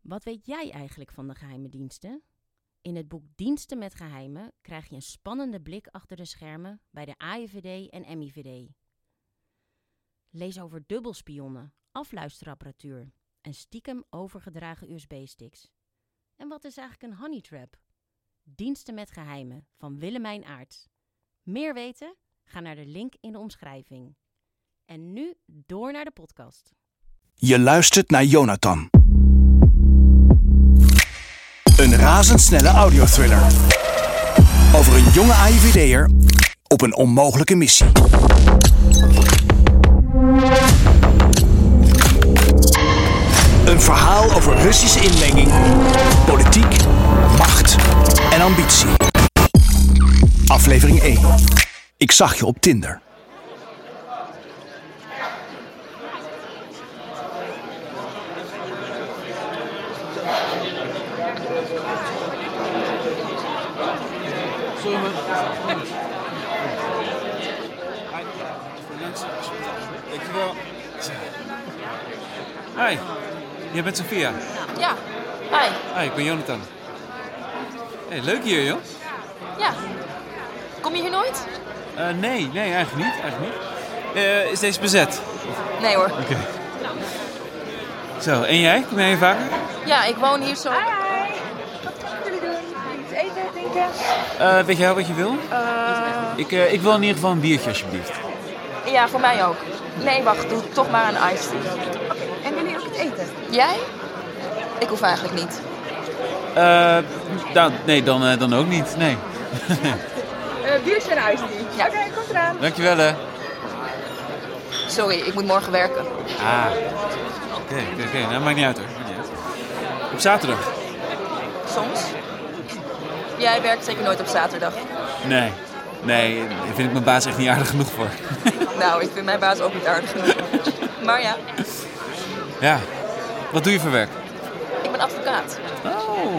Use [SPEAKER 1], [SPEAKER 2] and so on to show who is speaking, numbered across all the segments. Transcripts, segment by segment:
[SPEAKER 1] Wat weet jij eigenlijk van de geheime diensten? In het boek Diensten met Geheimen krijg je een spannende blik achter de schermen bij de AIVD en MIVD. Lees over dubbelspionnen, afluisterapparatuur en stiekem overgedragen USB-sticks. En wat is eigenlijk een honeytrap? Diensten met Geheimen van Willemijn Aarts. Meer weten? Ga naar de link in de omschrijving. En nu door naar de podcast.
[SPEAKER 2] Je luistert naar Jonathan. Een razendsnelle audiothriller. Over een jonge AIVD'er op een onmogelijke missie. Een verhaal over Russische inmenging, politiek, macht en ambitie. Aflevering 1. Ik zag je op Tinder.
[SPEAKER 3] Dankjewel. Hi, jij bent Sophia.
[SPEAKER 4] Ja, hi.
[SPEAKER 3] Hi, ik ben Jonathan. Hey, leuk hier, joh.
[SPEAKER 4] Ja. Kom je hier nooit?
[SPEAKER 3] Eh, nee, nee, eigenlijk niet. Eigenlijk niet. Eh, is deze bezet?
[SPEAKER 4] Nee hoor.
[SPEAKER 3] Oké. Zo, en jij? Kom jij hier vaker?
[SPEAKER 4] Ja, ik woon hier zo.
[SPEAKER 5] Hi. Wat kunnen jullie doen? Iets eten, drinken?
[SPEAKER 3] Eh, weet jij wat je wil?
[SPEAKER 4] Eh,
[SPEAKER 3] Ik, eh, ik wil in ieder geval een biertje, alsjeblieft.
[SPEAKER 4] ja, voor mij ook. Nee, wacht. Doe toch maar een iced tea.
[SPEAKER 5] En jullie ook het eten?
[SPEAKER 4] Jij? Ik hoef eigenlijk niet.
[SPEAKER 3] Eh, nou, nee, dan, eh, dan ook niet. Nee.
[SPEAKER 5] Eh biertje en ijs die.
[SPEAKER 4] Ja.
[SPEAKER 5] Oké, komt eraan.
[SPEAKER 3] Dankjewel, hè.
[SPEAKER 4] Sorry, ik moet morgen werken.
[SPEAKER 3] Ah. Oké, oké, oké. Nou, maakt niet uit, hoor. Maakt niet uit. Op zaterdag?
[SPEAKER 4] Soms. Jij werkt zeker nooit op zaterdag.
[SPEAKER 3] Nee. Nee, daar vind ik mijn baas echt niet aardig genoeg voor.
[SPEAKER 4] Nou, ik vind mijn baas ook niet aardig genoeg. Maar ja,
[SPEAKER 3] Ja. Wat doe je voor werk?
[SPEAKER 4] ik ben advocaat.
[SPEAKER 3] Oh.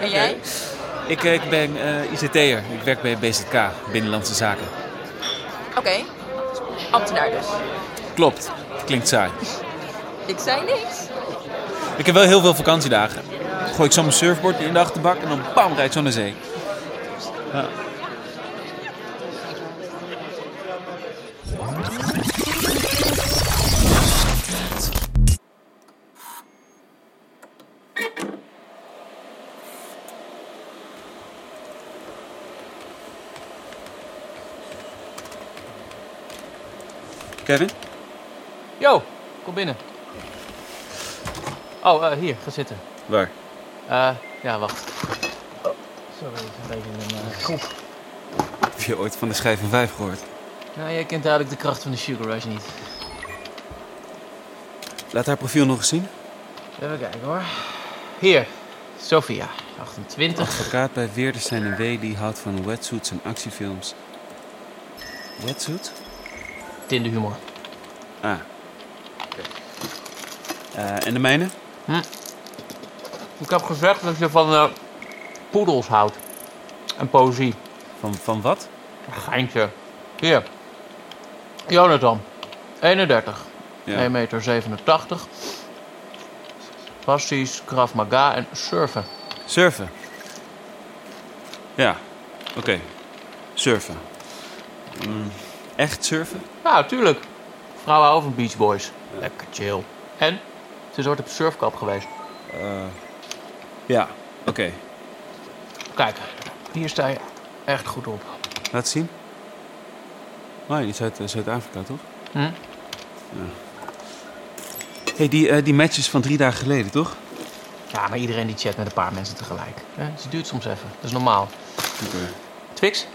[SPEAKER 4] En jij?
[SPEAKER 3] Ik, eh, ik ben eh, ICT'er. Ik werk bij BZK, Binnenlandse Zaken.
[SPEAKER 4] Oké. Ambtenaar dus.
[SPEAKER 3] Klopt. Klinkt saai.
[SPEAKER 4] Ik zei niks.
[SPEAKER 3] Ik heb wel heel veel vakantiedagen. Gooi ik zo mijn surfboard in de achterbak en dan bam, rijd ik zo naar zee. Kevin?
[SPEAKER 6] Yo, kom binnen. Oh, eh, hier, ga zitten.
[SPEAKER 3] Waar?
[SPEAKER 6] Eh, ja, wacht. Oh, sorry, het is een beetje een eh, groep.
[SPEAKER 3] Heb je ooit van de schijf van vijf gehoord?
[SPEAKER 6] Nou, jij kent duidelijk de kracht van de Sugar Rush niet.
[SPEAKER 3] Laat haar profiel nog eens zien.
[SPEAKER 6] Even kijken hoor. Hier, Sophia, 28.
[SPEAKER 3] Advocaat bij Weerders zijn een W die houdt van wetsuits en actiefilms. Wetsuit?
[SPEAKER 6] Tinderhumor.
[SPEAKER 3] Ah. Eh, en de mijne?
[SPEAKER 6] Ik heb gezegd dat je van eh, poedels houdt. En poëzie.
[SPEAKER 3] Van, van wat?
[SPEAKER 6] Geintje. Hier. Jonathan, 31.
[SPEAKER 3] Ja.
[SPEAKER 6] 1,87 meter. 87. Passies, Krav Maga en surfen.
[SPEAKER 3] Surfen. Ja, oké. Surfen. Mm, echt surfen?
[SPEAKER 6] Ja, Nou, tuurlijk. Vrouwen houden van Beach Boys. Lekker chill. En? Ze is ooit op surfkap geweest.
[SPEAKER 3] Ja, oké.
[SPEAKER 6] Kijk, hier sta je echt goed op.
[SPEAKER 3] Laat zien. Oh, die is uit eh, Zuid-Afrika, toch?
[SPEAKER 6] Hm?
[SPEAKER 3] Ja. hey, die, eh, die match is van drie dagen geleden, toch?
[SPEAKER 6] Ja, maar iedereen die chat met een paar mensen tegelijk. Hè? Dus het duurt soms even. Dat is normaal. Twix?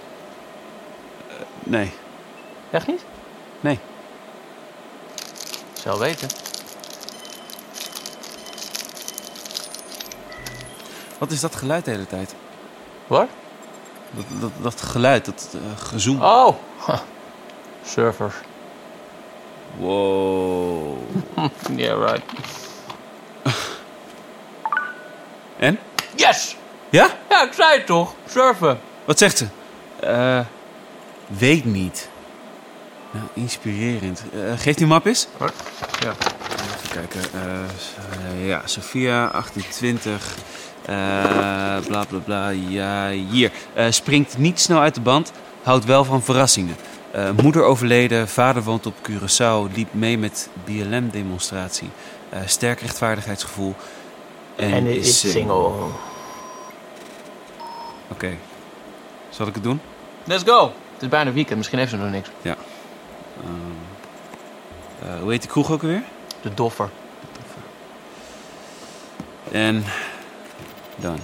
[SPEAKER 3] Nee.
[SPEAKER 6] Echt niet?
[SPEAKER 3] Nee.
[SPEAKER 6] Zal weten.
[SPEAKER 3] Wat is dat geluid de hele tijd?
[SPEAKER 6] Wat?
[SPEAKER 3] Dat, dat, dat geluid, dat eh, gezoem.
[SPEAKER 6] Oh! Huh. Surfers.
[SPEAKER 3] Wow.
[SPEAKER 6] Yeah, right.
[SPEAKER 3] En?
[SPEAKER 6] Yes!
[SPEAKER 3] Ja?
[SPEAKER 6] Ja, ik zei het toch. Surfen.
[SPEAKER 3] Wat zegt ze? Eh, weet niet. Nou, inspirerend. Eh, geef die map eens.
[SPEAKER 6] Ja.
[SPEAKER 3] Even even kijken. Eh, eh, ja, Sophia, 28. eh, bla bla bla. Ja, hier. Eh, springt niet snel uit de band. Houdt wel van verrassingen. Eh, moeder overleden. Vader woont op Curaçao. Liep mee met BLM-demonstratie. Eh, sterk rechtvaardigheidsgevoel. En,
[SPEAKER 7] En
[SPEAKER 3] is
[SPEAKER 7] is
[SPEAKER 3] single.
[SPEAKER 6] Oh.
[SPEAKER 7] single.
[SPEAKER 3] Oké. Zal ik het doen?
[SPEAKER 6] Let's go. Het is bijna weekend, misschien heeft ze nog niks.
[SPEAKER 3] Eh, hoe heet die kroeg ook weer?
[SPEAKER 6] De doffer.
[SPEAKER 3] En dan.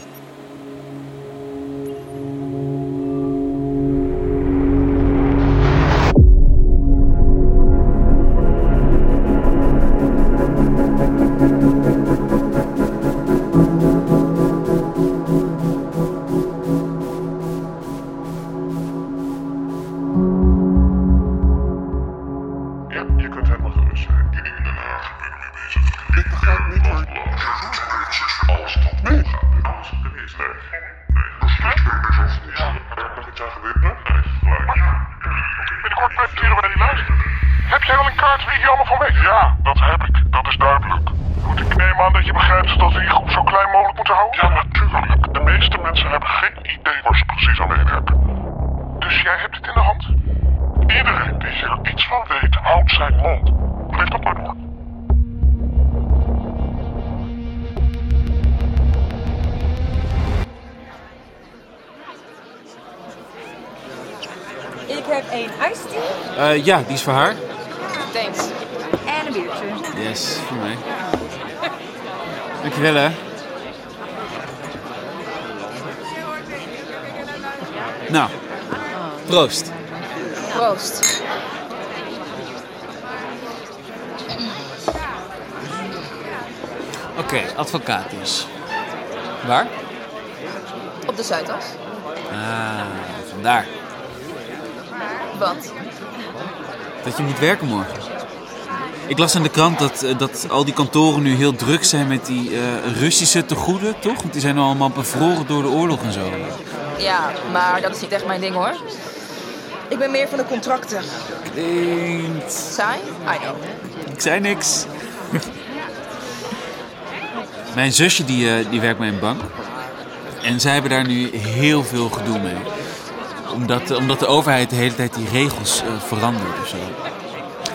[SPEAKER 8] Ja, je kunt helemaal gerust zijn. Jullie in Den Haag ben ik mee bezig. Ik begrijp niet waar... Alles tot nee. Alles is Nee. Nee. Dat steeds ben je bezig over niets. Daar mag iets aan gebeuren. Nee, gelijk. Binnenkort presenteren wij die lijst. Heb jij al een kaart wie hier allemaal van weet? Ja, dat heb ik. Dat is duidelijk. Goed, ik neem aan dat je begrijpt dat we die groep zo klein mogelijk moeten houden? Ja, natuurlijk. De meeste mensen hebben geen idee waar ze precies aan mee hebben. Dus jij hebt het in de hand? Iedereen die hier iets van weet, houdt zijn mond. Blijf dat maar door.
[SPEAKER 9] Ik heb één iced tea
[SPEAKER 3] Eh, ja, die is voor haar.
[SPEAKER 4] Thanks.
[SPEAKER 9] en een biertje.
[SPEAKER 3] Yes, voor mij. Dankjewel hè. Nou, proost.
[SPEAKER 4] Proost.
[SPEAKER 10] Oké, advocaat dus. Waar?
[SPEAKER 4] Op de Zuidas.
[SPEAKER 10] Ah, vandaar.
[SPEAKER 4] Wat?
[SPEAKER 10] Dat je moet werken morgen. Ik las in de krant dat, eh, dat al die kantoren nu heel druk zijn met die eh, Russische tegoeden, toch? Want die zijn nou allemaal bevroren door de oorlog en zo.
[SPEAKER 4] Ja, maar dat is niet echt mijn ding hoor. Ik ben meer van de contracten.
[SPEAKER 10] Klinkt.
[SPEAKER 4] Saai? I know.
[SPEAKER 10] Ik zei niks. Mijn zusje die, eh, die werkt bij een bank. En zij hebben daar nu heel veel gedoe mee. Omdat, eh, omdat de overheid de hele tijd die regels eh, verandert of zo.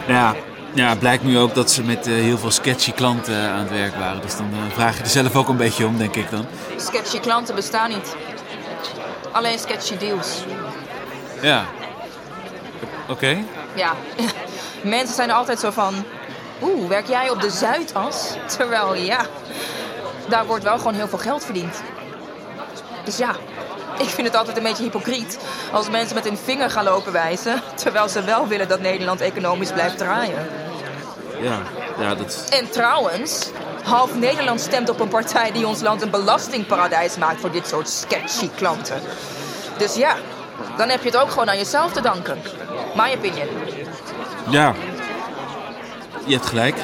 [SPEAKER 10] Nou ja, ja, het blijkt nu ook dat ze met eh, heel veel sketchy klanten aan het werk waren. Dus dan eh, vraag je er zelf ook een beetje om, denk ik dan.
[SPEAKER 4] Sketchy klanten bestaan niet. Alleen sketchy deals.
[SPEAKER 10] Ja. Oké.
[SPEAKER 4] Ja, mensen zijn er altijd zo van... Oeh, werk jij op de Zuidas? Terwijl, ja, daar wordt wel gewoon heel veel geld verdiend. Dus ja, ik vind het altijd een beetje hypocriet... als mensen met hun vinger gaan lopen wijzen... terwijl ze wel willen dat Nederland economisch blijft draaien.
[SPEAKER 3] Ja, ja, dat.
[SPEAKER 4] En trouwens, half Nederland stemt op een partij die ons land een belastingparadijs maakt voor dit soort sketchy klanten. Dus ja, dan heb je het ook gewoon aan jezelf te danken. My opinion.
[SPEAKER 3] Ja. Je hebt gelijk.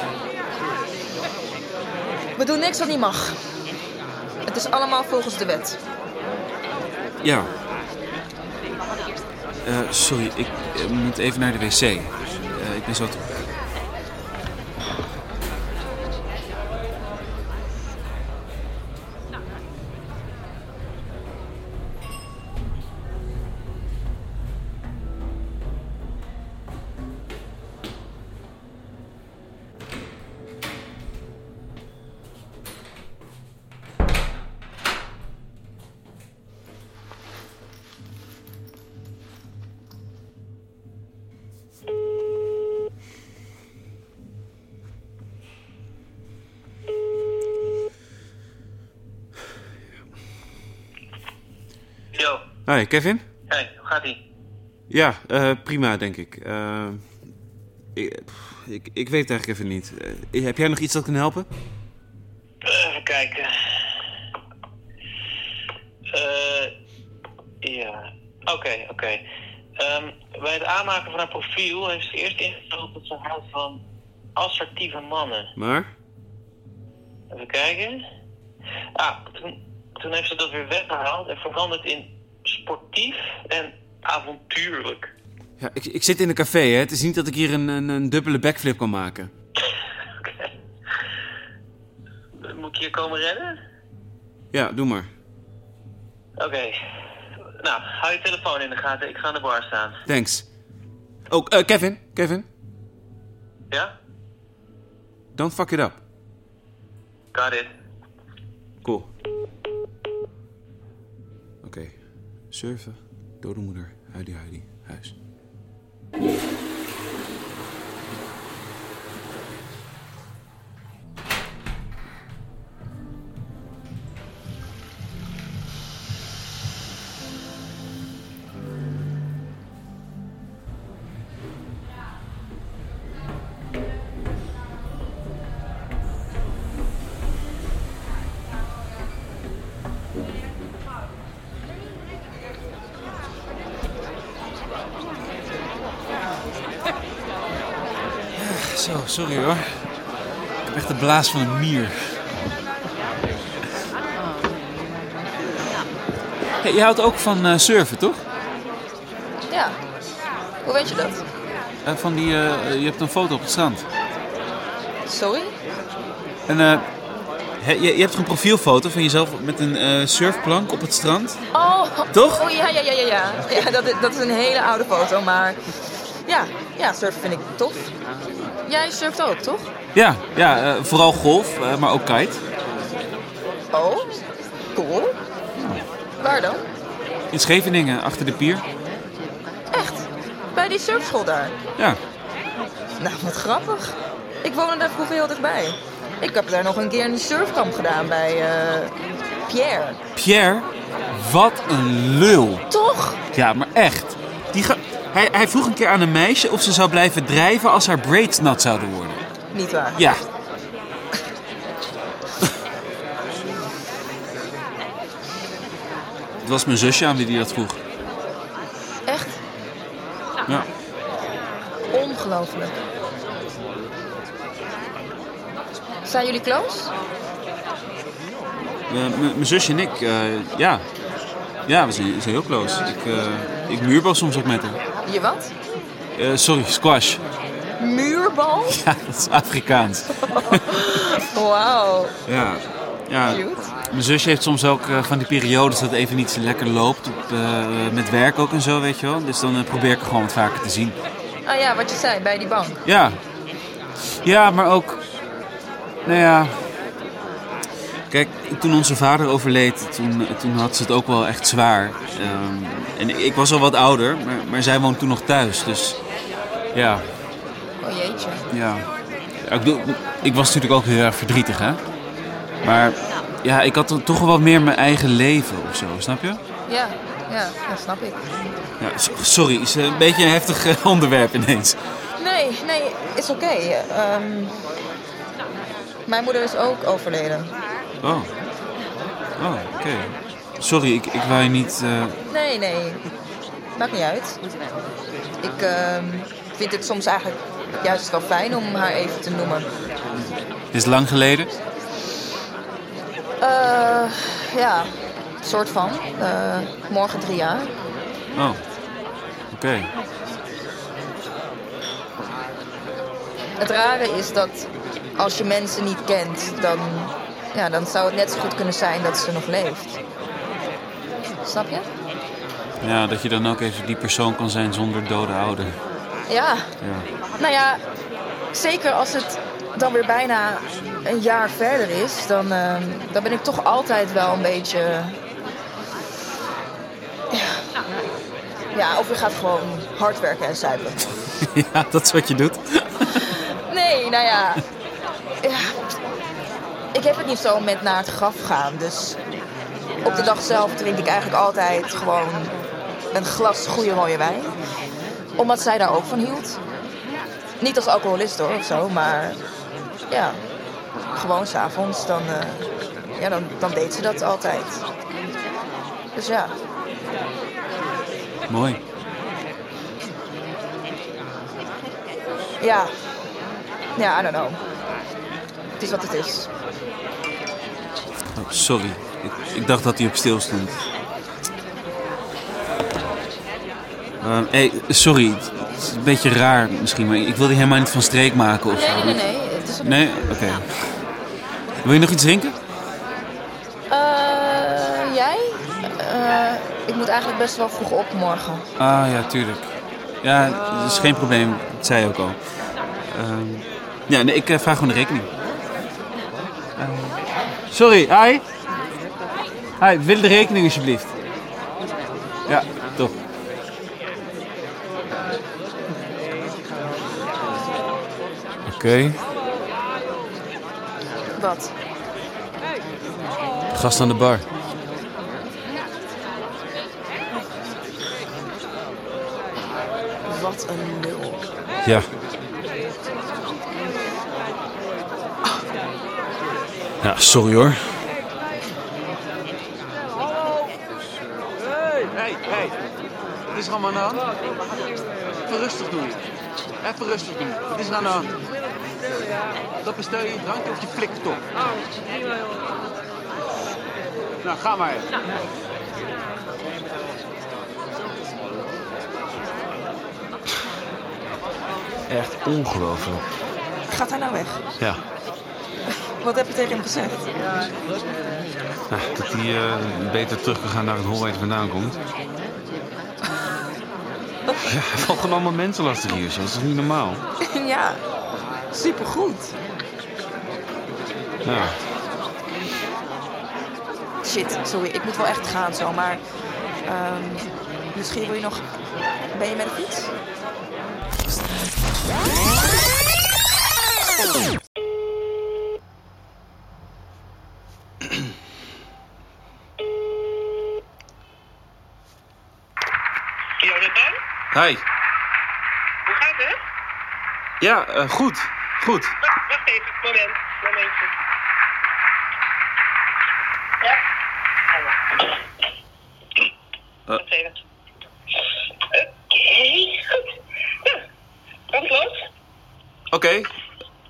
[SPEAKER 4] We doen niks wat niet mag. Het is allemaal volgens de wet.
[SPEAKER 3] Ja. Eh, sorry, ik eh, moet even naar de wc. Eh, ik ben zo terug.
[SPEAKER 11] Yo,
[SPEAKER 3] Hoi, Kevin?
[SPEAKER 11] hey, hoe gaat ie?
[SPEAKER 3] Ja, eh, prima, denk ik. Eh, ik, pff, ik. Ik weet het eigenlijk even niet. Eh, heb jij nog iets dat kan helpen?
[SPEAKER 11] Even kijken. Eh ja, oké, oké. Ehm, bij het aanmaken van haar profiel heeft ze eerst ingesteld dat ze houdt van assertieve mannen.
[SPEAKER 3] Maar?
[SPEAKER 11] Even kijken. Ah, toen, toen heeft ze dat weer weggehaald en veranderd in sportief en avontuurlijk.
[SPEAKER 3] Ja, ik, ik zit in een café, hè. Het is niet dat ik hier een, een, een dubbele backflip kan maken.
[SPEAKER 11] Oké. Moet ik je komen redden?
[SPEAKER 12] Ja, doe maar.
[SPEAKER 11] Oké. Nou, hou je telefoon in de gaten. Ik ga aan de bar staan.
[SPEAKER 12] Thanks. Oh, eh, Kevin. Kevin.
[SPEAKER 11] Ja?
[SPEAKER 12] Don't fuck it up.
[SPEAKER 11] Got it.
[SPEAKER 12] Cool. Oké. Surfen. Dode moeder. Huidi huidi. Huis.
[SPEAKER 3] Zo, sorry hoor. Ik heb echt de blaas van een mier. Hey, je houdt ook van eh, surfen, toch?
[SPEAKER 4] Ja. Hoe weet je dat?
[SPEAKER 3] Eh, van die, eh, je hebt een foto op het strand.
[SPEAKER 4] Sorry?
[SPEAKER 3] En, eh, hè, je, je hebt een profielfoto van jezelf met een eh, surfplank op het strand.
[SPEAKER 4] Oh.
[SPEAKER 3] Toch?
[SPEAKER 4] Oh ja, ja, ja, ja. ja. ja dat, is- dat is een hele oude foto, maar... Ja, ja, surfen vind ik tof. Jij surft ook, toch?
[SPEAKER 3] Ja, ja eh, vooral golf, eh, maar ook kite.
[SPEAKER 4] Oh, cool. Waar dan?
[SPEAKER 3] In Scheveningen, achter de pier.
[SPEAKER 4] Echt? Bij die surfschool daar?
[SPEAKER 3] Ja.
[SPEAKER 4] Nou, wat grappig. Ik woonde daar vroeger heel dichtbij. Ik heb daar nog een keer een surfkamp gedaan bij eh, Pierre.
[SPEAKER 3] Pierre, wat een lul.
[SPEAKER 4] Toch?
[SPEAKER 3] Ja, maar echt. Die ga- hij, hij vroeg een keer aan een meisje of ze zou blijven drijven als haar braids nat zouden worden.
[SPEAKER 4] Niet waar?
[SPEAKER 3] Ja, het was mijn zusje aan wie die dat vroeg.
[SPEAKER 4] Echt?
[SPEAKER 3] Ja.
[SPEAKER 4] Ongelooflijk. Zijn jullie close?
[SPEAKER 3] Eh, m- Mijn zusje en ik, eh, ja. Ja, we zijn, we zijn heel close. Ik, eh ik muurbal soms ook met haar.
[SPEAKER 4] Je wat?
[SPEAKER 3] Eh, sorry, squash.
[SPEAKER 4] Muurbal?
[SPEAKER 3] Ja, dat is Afrikaans.
[SPEAKER 4] Wauw.
[SPEAKER 3] Ja. ja.
[SPEAKER 4] Cute.
[SPEAKER 3] Mijn zusje heeft soms ook eh, van die periodes dat even niet zo lekker loopt. Op, eh, met werk ook en zo, weet je wel. Dus dan eh, probeer ik haar gewoon wat vaker te zien.
[SPEAKER 4] Ah ja, wat je zei, bij die bank.
[SPEAKER 3] Ja. Ja, maar ook... Nou ja... Kijk, toen onze vader overleed, toen, eh, toen had ze het ook wel echt zwaar. Ehm, en ik was al wat ouder, maar, maar zij woont toen nog thuis. Dus ja,
[SPEAKER 4] Oh jeetje.
[SPEAKER 3] ja. Ja, Ik, bedoel, ik was natuurlijk ook heel erg verdrietig, hè. Maar ja, ik had dan toch wel wat meer mijn eigen leven of zo, snap je?
[SPEAKER 4] Ja, ja, dat snap ik.
[SPEAKER 3] Ja, so- sorry, is een beetje een heftig eh, onderwerp ineens.
[SPEAKER 4] Nee, nee, is oké. Ehm, mijn moeder is ook overleden.
[SPEAKER 3] Oh. Oh, oké. Sorry, ik, ik wou je niet... eh,
[SPEAKER 4] Nee, nee. Maakt niet uit. Ik ehm, vind het soms eigenlijk juist wel fijn om haar even te noemen.
[SPEAKER 3] Het is lang geleden.
[SPEAKER 4] Eh, ja, soort van. Eh, morgen drie jaar.
[SPEAKER 3] Oh, oké.
[SPEAKER 4] Het rare is dat als je mensen niet kent, dan, ja, dan zou het net zo goed kunnen zijn dat ze nog leeft. Snap je?
[SPEAKER 3] Ja, dat je dan ook even die persoon kan zijn zonder dode ouder.
[SPEAKER 4] Ja.
[SPEAKER 3] Ja.
[SPEAKER 4] Nou ja, zeker als het dan weer bijna een jaar verder is, dan, ehm, dan ben ik toch altijd wel een beetje. Ja. Ja, of je gaat gewoon hard werken en zuipen.
[SPEAKER 3] ja, dat is wat je doet.
[SPEAKER 4] Nee, nou ja. ja. Ik heb het niet zo met naar het graf gaan. Dus op de dag zelf drink ik eigenlijk altijd gewoon een glas goede rode wijn. Omdat zij daar ook van hield. Niet als alcoholist hoor of zo, maar ja. Gewoon s'avonds, dan, eh, ja, dan, dan deed ze dat altijd. Dus ja.
[SPEAKER 3] Mooi.
[SPEAKER 4] Ja. Ja, I don't know. Het is wat het is.
[SPEAKER 3] Oh, sorry, ik, ik dacht dat hij op stil stond. Ehm, hey, sorry, het is een beetje raar misschien, maar ik wil die helemaal niet van streek maken of zo.
[SPEAKER 4] Nee, nee, nee, nee, het is op-
[SPEAKER 3] Nee? Oké. Wil je nog iets drinken?
[SPEAKER 4] Eh, moet eigenlijk best wel vroeg op morgen.
[SPEAKER 3] Ah ja, tuurlijk. Ja, dat is geen probleem. Dat zei je ook al. Ehm, ja, nee, ik eh, vraag gewoon de rekening. Ehm, sorry, hi. Hi, wil de rekening alsjeblieft. Ja, toch.
[SPEAKER 10] Oké.
[SPEAKER 4] Wat?
[SPEAKER 10] Gast aan de bar.
[SPEAKER 4] Wat een nul.
[SPEAKER 10] Ja. Ja, sorry hoor.
[SPEAKER 6] Hey, hey. Wat is er allemaal aan? de hand? Even rustig doen. Even rustig doen. Wat is er aan de hand? Dat bestel je een drankje of je flikt het op. Nou, ga maar.
[SPEAKER 3] Echt ongelooflijk.
[SPEAKER 4] Gaat hij nou weg?
[SPEAKER 3] Ja.
[SPEAKER 4] Wat heb je tegen hem gezegd?
[SPEAKER 3] Nou, dat hij eh, beter teruggegaan naar het hol waar hij vandaan komt. Ja, hij valt gewoon allemaal mensen lastig hier. Zo. Dat is toch niet normaal?
[SPEAKER 4] ja, supergoed.
[SPEAKER 3] Ja.
[SPEAKER 4] Shit, sorry, ik moet wel echt gaan zo, maar... ehm, misschien wil je nog... Ben je met de fiets?
[SPEAKER 11] Jonathan,
[SPEAKER 3] Hi.
[SPEAKER 11] hoe gaat het?
[SPEAKER 3] Ja, eh, goed. Goed.
[SPEAKER 11] Wacht, wacht even, moment, momentje. Ja? Oh, wacht. Wacht even. Oké, goed. Ja, wat los?
[SPEAKER 3] Oké.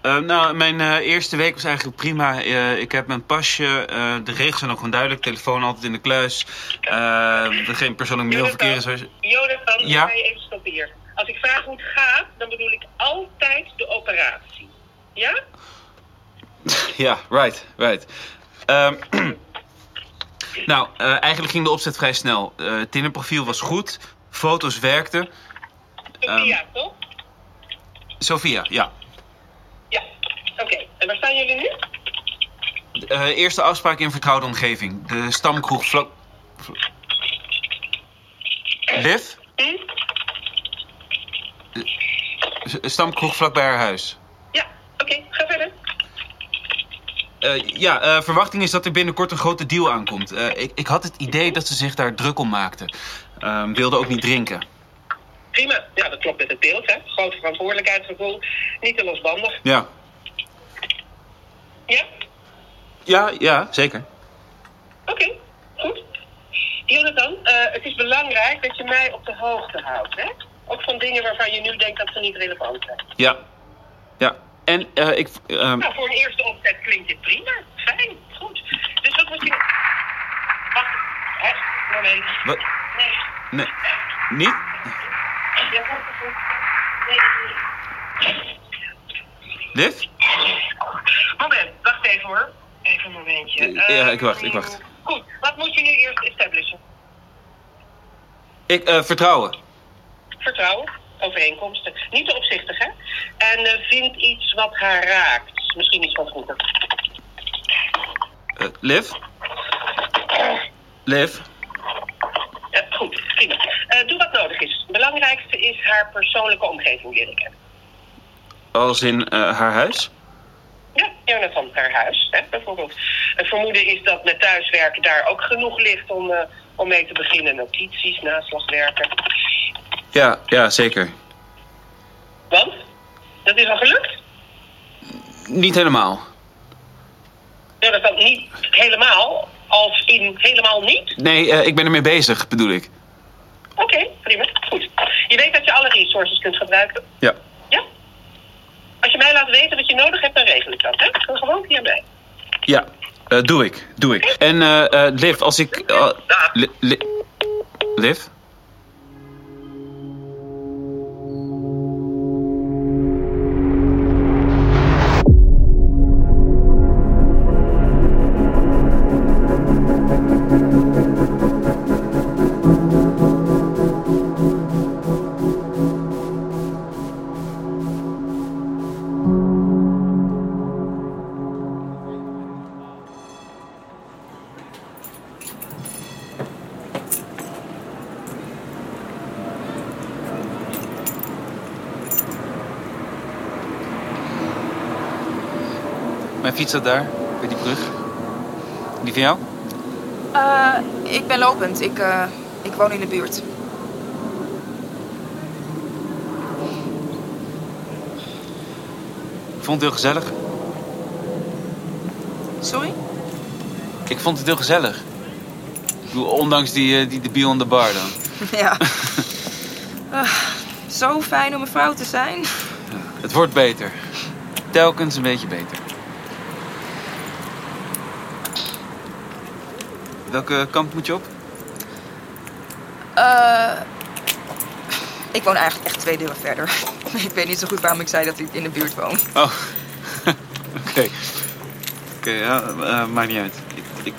[SPEAKER 3] Eh, nou, mijn eh, eerste week was eigenlijk prima. Eh, ik heb mijn pasje, eh, de regels zijn ook gewoon duidelijk. Telefoon altijd in de kluis. Eh, er geen persoonlijk mailverkeer. en zo.
[SPEAKER 11] Jonathan,
[SPEAKER 3] Ja?
[SPEAKER 11] ga je even stoppen hier. Als ik vraag hoe het gaat, dan bedoel ik altijd de operatie. Ja?
[SPEAKER 3] Ja, right, right. Ehm, nou, eh, eigenlijk ging de opzet vrij snel. Eh Tinderprofiel was goed, foto's werkten.
[SPEAKER 11] Sophia, toch?
[SPEAKER 3] Sophia, ja.
[SPEAKER 11] Ja. Oké, en waar staan jullie nu?
[SPEAKER 3] Eh, eerste afspraak in vertrouwde omgeving. De stamkroeg vlak... Liv?
[SPEAKER 11] Hm?
[SPEAKER 3] S- Stamkroeg vlakbij haar huis.
[SPEAKER 11] Oké, ga verder.
[SPEAKER 3] Eh, ja, eh, verwachting is dat er binnenkort een grote deal aankomt. Eh, ik, ik had het idee dat ze zich daar druk om maakten. Ehm wilde ook niet drinken.
[SPEAKER 11] Prima. Ja, dat klopt met het beeld, hè. Groot verantwoordelijkheidsgevoel. Niet te losbandig.
[SPEAKER 3] Ja.
[SPEAKER 11] Ja?
[SPEAKER 3] Ja, ja, zeker.
[SPEAKER 11] Oké, goed. Jonathan, eh, het is belangrijk dat je mij op de hoogte houdt, hè? Ook van dingen waarvan je nu denkt dat ze niet relevant zijn.
[SPEAKER 3] Ja. Ja. En eh, ik... ehm,
[SPEAKER 11] Nou, voor een eerste opzet klinkt dit prima. Fijn, goed. Dus wat moet je... Wacht, hè? Moment.
[SPEAKER 3] wat?
[SPEAKER 11] Nee,
[SPEAKER 3] Nee. Niet?
[SPEAKER 11] ja, goed, goed. Nee, nee, nee.
[SPEAKER 3] Liv?
[SPEAKER 11] Moment, wacht even hoor. Even een momentje.
[SPEAKER 3] Ja,
[SPEAKER 11] Eh,
[SPEAKER 3] ik wacht, ik wacht.
[SPEAKER 11] Goed, wat moet je nu eerst establishen?
[SPEAKER 3] Ik, eh, vertrouwen.
[SPEAKER 11] Vertrouwen, overeenkomsten. Niet te opzichtig, hè? En eh, vind iets wat haar raakt. Misschien iets van vroeger.
[SPEAKER 3] Eh, Liv? Liv?
[SPEAKER 11] Ja, goed, prima. Eh, doe wat nodig is. Het belangrijkste is haar persoonlijke omgeving leren kennen.
[SPEAKER 3] Als in eh, haar huis?
[SPEAKER 11] Ja, Jonathan, haar huis, hè, bijvoorbeeld. Het vermoeden is dat met thuiswerken daar ook genoeg ligt om, eh, om mee te beginnen. Notities, naslagwerken.
[SPEAKER 3] Ja, ja, zeker.
[SPEAKER 11] Want? Dat is al gelukt?
[SPEAKER 3] Niet helemaal.
[SPEAKER 11] Jonathan, niet helemaal, als in helemaal niet?
[SPEAKER 3] Nee, eh, ik ben ermee bezig, bedoel ik.
[SPEAKER 11] Oké, prima, goed. Je weet dat je alle resources kunt gebruiken?
[SPEAKER 3] Ja.
[SPEAKER 11] Ja? Als je mij laat weten wat je nodig hebt, dan regel ik dat, hè? Dan gewoon via mij.
[SPEAKER 3] Ja, eh, doe ik, doe ik. En eh, eh, Liv, als ik... eh, Li- Li- Liv? fiets dat daar, bij die brug. Die van jou?
[SPEAKER 5] Eh, ik ben lopend. Ik, eh, ik woon in de buurt.
[SPEAKER 3] Ik vond het heel gezellig.
[SPEAKER 5] Sorry?
[SPEAKER 3] Ik vond het heel gezellig. Ik bedoel, Ondanks die, eh, die debiel aan de bar dan.
[SPEAKER 5] Ja. Ah, zo fijn om een vrouw te zijn.
[SPEAKER 3] Het wordt beter. Telkens een beetje beter. Welke kant moet je op?
[SPEAKER 5] Eh, ik woon eigenlijk echt twee deuren verder. ik weet niet zo goed waarom ik zei dat ik in de buurt woon.
[SPEAKER 3] Oh. Oké. Oké, ja, eh, maakt niet uit. Ik, ik,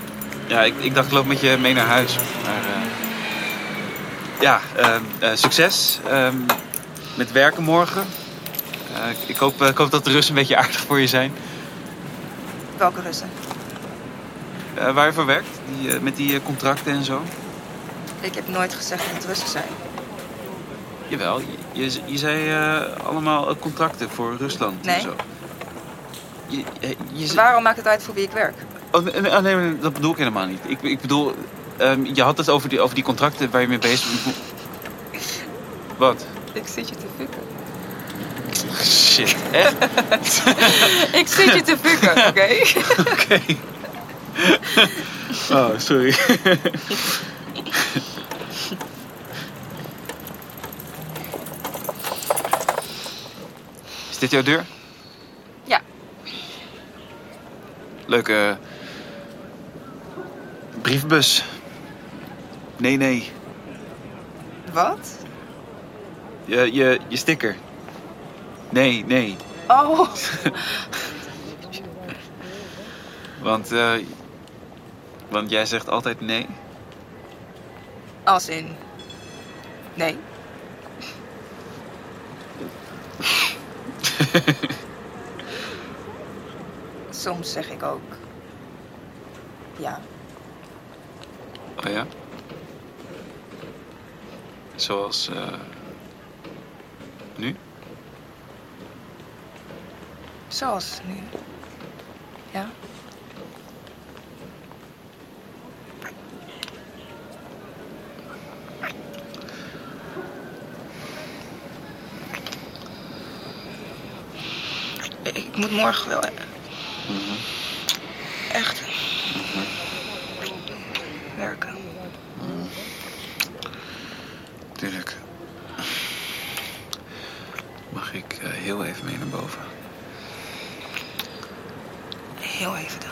[SPEAKER 3] ja, ik, ik dacht, ik loop met je mee naar huis. Maar, eh, ja, ehm, eh, succes ehm, met werken morgen. Eh, ik- ik, hoop, eh, ik hoop dat de Russen een beetje aardig voor je zijn.
[SPEAKER 5] Welke Russen?
[SPEAKER 3] Eh, waar je voor werkt, die, eh, met die eh, contracten en zo.
[SPEAKER 5] Ik heb nooit gezegd dat het Russen zijn.
[SPEAKER 3] Jawel, je, je, je zei eh, allemaal eh, contracten voor Rusland en
[SPEAKER 5] Nee.
[SPEAKER 3] zo. Je, eh, je, ze-
[SPEAKER 5] Waarom maakt het uit voor wie ik werk?
[SPEAKER 3] Oh, nee, nee, nee, nee, dat bedoel ik helemaal niet. Ik, ik bedoel, ehm, je had het over die, over die contracten waar je mee bezig bent. Wat?
[SPEAKER 5] Ik zit je te fukken.
[SPEAKER 3] Shit, echt?
[SPEAKER 5] ik zit je te fukken, oké?
[SPEAKER 3] Oké. Oh, sorry. Is dit jouw deur?
[SPEAKER 5] Ja.
[SPEAKER 3] Leuke briefbus. Nee, nee.
[SPEAKER 5] Wat?
[SPEAKER 3] Je, je, je sticker. Nee, nee.
[SPEAKER 5] Oh,
[SPEAKER 3] Want, eh, want jij zegt altijd nee.
[SPEAKER 5] als in. Nee. Soms zeg ik ook. Ja.
[SPEAKER 3] Oh ja? Zoals eh, nu?
[SPEAKER 5] Zoals nu. Ja. Ik- Ik moet morgen wel. Echt. Werken.
[SPEAKER 3] Tuurlijk. Mag ik eh, heel even mee naar boven?
[SPEAKER 5] Heel even dan.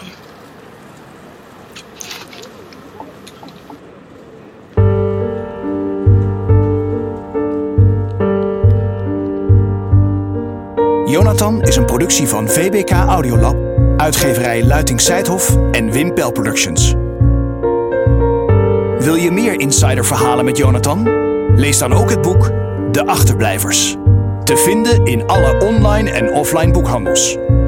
[SPEAKER 2] Jonathan is een productie van VBK Audiolab, uitgeverij Luiting Seidhof en Wim Pel Productions. Wil je meer insiderverhalen met Jonathan? Lees dan ook het boek De Achterblijvers. Te vinden in alle online en offline boekhandels.